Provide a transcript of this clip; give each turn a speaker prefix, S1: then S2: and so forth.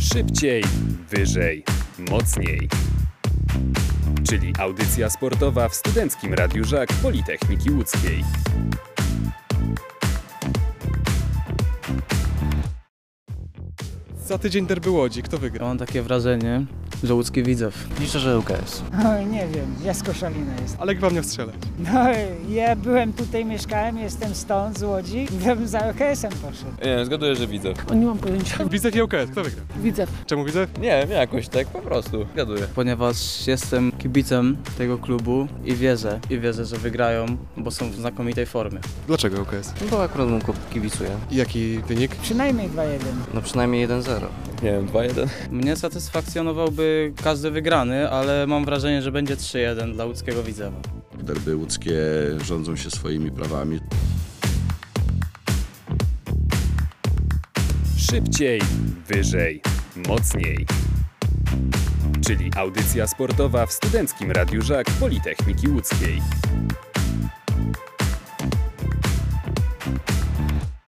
S1: Szybciej, wyżej, mocniej. Czyli audycja sportowa w Studenckim Radiu Żak Politechniki Łódzkiej.
S2: Za tydzień derby Łodzi, kto wygra?
S3: Ja mam takie wrażenie, że łódzki widzew.
S4: Liczę, że UKS.
S5: Oj, nie wiem, ja z Koszalina jestem.
S2: Alek wam nie wstrzelę.
S5: No, ja byłem tutaj, mieszkałem, jestem stąd, z Łodzi i bym za OKS-em poszedł.
S6: Nie, zgaduję, że widzę.
S7: Nie mam pojęcia.
S2: Widzew i UKS, kto wygra?
S7: Widzę.
S2: Czemu widzę?
S6: Nie, jakoś tak po prostu. Zgaduję.
S3: Ponieważ jestem kibicem tego klubu i wierzę, i wierzę, że wygrają, bo są w znakomitej formie.
S2: Dlaczego UKS?
S4: Bo akurat mu kibicuję.
S2: I jaki wynik?
S5: Przynajmniej 2-1.
S4: No przynajmniej 1-0.
S6: Nie wiem, 2-1.
S3: Mnie satysfakcjonowałby każdy wygrany, ale mam wrażenie, że będzie 3-1 dla łódzkiego widzewa.
S8: Derby łódzkie rządzą się swoimi prawami.
S1: Szybciej, wyżej, mocniej. Czyli audycja sportowa w Studenckim Radiu Żak Politechniki Łódzkiej.